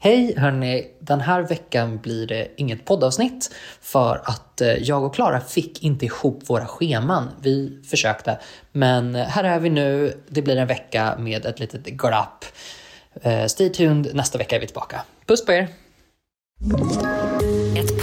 Hej hörni! Den här veckan blir det inget poddavsnitt för att eh, jag och Klara fick inte ihop våra scheman. Vi försökte, men eh, här är vi nu. Det blir en vecka med ett litet glapp. Eh, Stay tuned, nästa vecka är vi tillbaka. Puss på er! Ett